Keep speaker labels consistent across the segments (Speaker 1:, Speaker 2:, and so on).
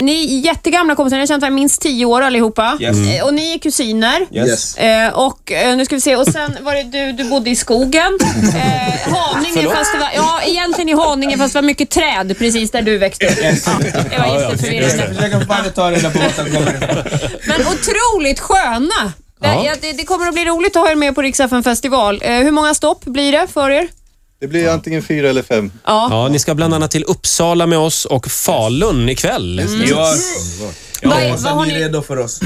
Speaker 1: Ni är jättegamla kompisar, ni har känt varandra minst tio år allihopa.
Speaker 2: Yes. Mm.
Speaker 1: Eh, Och ni är kusiner.
Speaker 2: Yes.
Speaker 3: Yes.
Speaker 1: Eh, och eh, nu ska vi se, och sen var det du, du bodde i skogen. Eh, Haninge fast det var, ja egentligen i Haninge fast det var mycket träd precis där du växte upp. Ja, det var jätteförvirrande.
Speaker 2: försöker fortfarande ta reda på vart han kommer ifrån.
Speaker 1: Men otroligt sköna. Det,
Speaker 4: Ja.
Speaker 1: ja, det, det kommer att bli roligt att ha er med på Riksdagen festival. Eh, hur många stopp blir det för er?
Speaker 3: Det blir antingen fyra eller fem.
Speaker 1: Ja.
Speaker 4: Ja, ni ska bland annat till Uppsala med oss och Falun ikväll.
Speaker 2: Jag, jag
Speaker 1: Vad-
Speaker 2: hoppas
Speaker 1: vad
Speaker 2: att
Speaker 1: har
Speaker 2: ni är
Speaker 1: ni-
Speaker 2: redo för oss.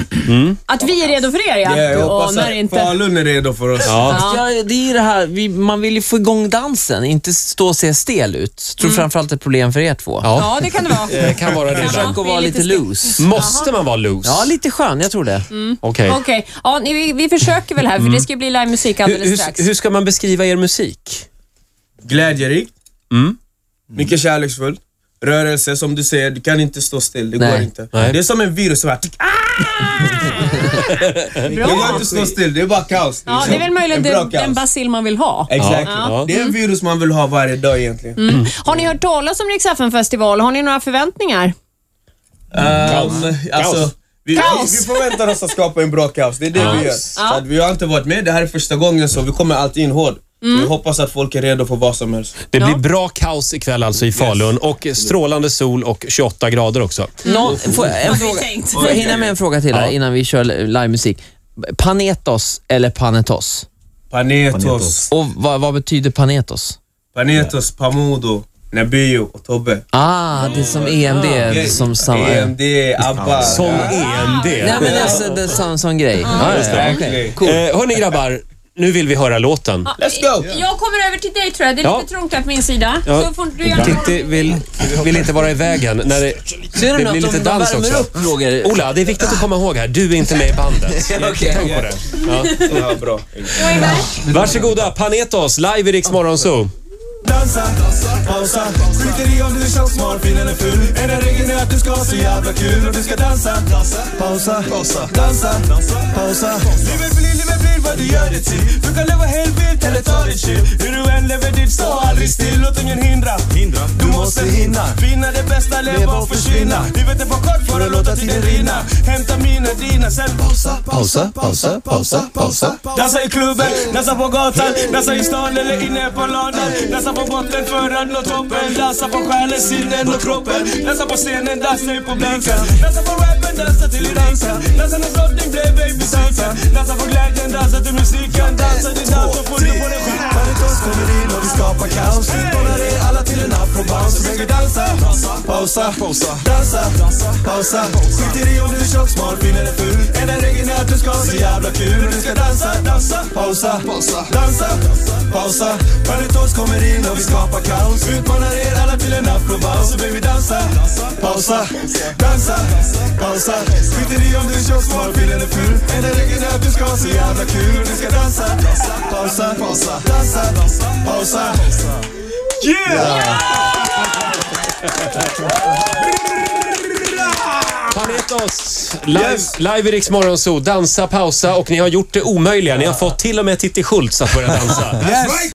Speaker 1: Att vi är redo för er ja.
Speaker 2: Ja, jag
Speaker 1: du
Speaker 2: hoppas
Speaker 1: anar
Speaker 2: att
Speaker 1: inte.
Speaker 2: Falun är redo för oss.
Speaker 4: Ja.
Speaker 1: Ja.
Speaker 5: Ja, det är ju det här, vi, man vill ju få igång dansen, inte stå och se stel ut. Tror framförallt det är ett problem för er två.
Speaker 4: Ja.
Speaker 1: ja, det kan det vara.
Speaker 4: Det Eh, kan vara det
Speaker 1: Ja.
Speaker 4: ibland.
Speaker 5: Försök att vara
Speaker 1: Vi är lite
Speaker 5: lite loose.
Speaker 4: Måste man vara loose?
Speaker 5: Ja, lite skön, jag tror det.
Speaker 4: Okej.
Speaker 1: Okej, ja, ni- vi, vi försöker väl här för det ska ju bli livemusik
Speaker 4: Hur,
Speaker 1: alldeles strax.
Speaker 4: hur, hur ska man beskriva er musik?
Speaker 2: Glädjerik. Mycket kärleksfull. Rörelse, som du säger, du kan inte stå still. Det
Speaker 5: Nej.
Speaker 2: går inte.
Speaker 4: Nej.
Speaker 2: Det är som en virus som bara... Det går inte att stå still, det är bara kaos.
Speaker 1: Ja, det är väl möjligen
Speaker 2: En Mm. bra
Speaker 1: den, den
Speaker 2: kaos.
Speaker 1: basil man vill ha.
Speaker 2: Exakt.
Speaker 4: Ja.
Speaker 2: Det är en virus man vill ha varje dag egentligen.
Speaker 1: Har ni hört talas om Rix festival Har ni några förväntningar?
Speaker 2: Um, alltså,
Speaker 4: Kaos.
Speaker 2: vi, vi,
Speaker 1: Kaos.
Speaker 2: vi förväntar oss att skapa en bra kaos, det är det vi gör. Så att vi har inte varit med, det här är första gången så vi kommer alltid in hård. Vi hoppas att folk är redo för vad som helst.
Speaker 4: Det blir
Speaker 1: Ja.
Speaker 4: bra kaos ikväll alltså i Falun och strålande sol och 28 grader också.
Speaker 5: Nå, får, jag- en fråga,
Speaker 1: tänkt.
Speaker 5: får jag hinna med en fråga till här innan vi kör livemusik? Panetos eller panetos?
Speaker 2: Panetos,
Speaker 5: Och vad, vad betyder panetos?
Speaker 2: Panetos, Pamudo, Nabio och Tobbe.
Speaker 5: Ah, det är som EMD, det är som samma...
Speaker 4: E
Speaker 2: EMD, ABBA.
Speaker 4: Som E EMD.
Speaker 5: Nej men alltså, det är sån, sån grej. Ja, ja, ja, okej.
Speaker 4: Eh, hörni grabbar, nu vill vi höra låten.
Speaker 2: Let's go!
Speaker 1: Jag kommer över till dig tror jag. Det är
Speaker 4: Ja.
Speaker 1: lite trångt här på min sida.
Speaker 4: Ja.
Speaker 1: Så får du gärna...
Speaker 4: Titti vill, vill inte vara i vägen. När det,
Speaker 5: Ser du
Speaker 4: det blir
Speaker 5: något
Speaker 4: lite
Speaker 5: om
Speaker 4: dans
Speaker 5: värmer
Speaker 4: också. Oh,
Speaker 5: upp, Roger?
Speaker 4: Ola, det är viktigt att komma ihåg här. Du är inte med i bandet.
Speaker 5: Okej.
Speaker 4: Tänk på det.
Speaker 2: Ja, bra.
Speaker 4: Varsågoda, Panetos live i Rix Morgonzoo.
Speaker 6: Dansa, pausa, skiter i om du känns smal, fin eller ful Enda regeln är att du ska ha så jävla kul Och du ska dansa, pausa, dansa, pausa Livet blir, livet blir vad du gör det till Du kan leva helt vilt eller ta det chill Hur du än lever ditt, stå aldrig still Låt ingen hindra, du måste hinna Vinna det bästa, leva och försvinna Livet är för kort för att låta tiden rinna Hämta mina, dina, sen pausa, pausa, pausa, pausa, pausa
Speaker 2: Dansa i klubben, dansa på gatan, dansa i stan eller inne på ladan Dansa på botten för att nå toppen, dansa på själen, sinnen och kroppen Dansa på scenen, dansa i publiken Dansa på rappen, dansa till i dansen Dansa när drottning blev babydansen Dansa på glädjen, dansa till musiken Dansa din dans och får du på dig skit
Speaker 6: Kvalitos kommer in och vi skapar kaos Utmanar er alla till en afrobounce Vi tänker dansa, pausa, dansa, pausa Skiter i om du är tjock, smal, fin eller ful Enda regeln är att du ska ha så jävla kul Och du ska dansa, dansa, pausa, dansa, pausa Kvalitos kommer in och vi skapar kaos Utmanar er alla till en afrobounce Så baby dansa, pausa, dansa, pausa Skiter i om du är tjock, smal, fin eller ful Enda regeln är att du ska ha så jävla kul Och du ska dansa, pausa, dansa, pausa
Speaker 4: Panetos live, live i Rix Morgonzoo. Dansa, pausa och ni har gjort det omöjliga. Ni har fått till och med Titti Schultz att börja dansa.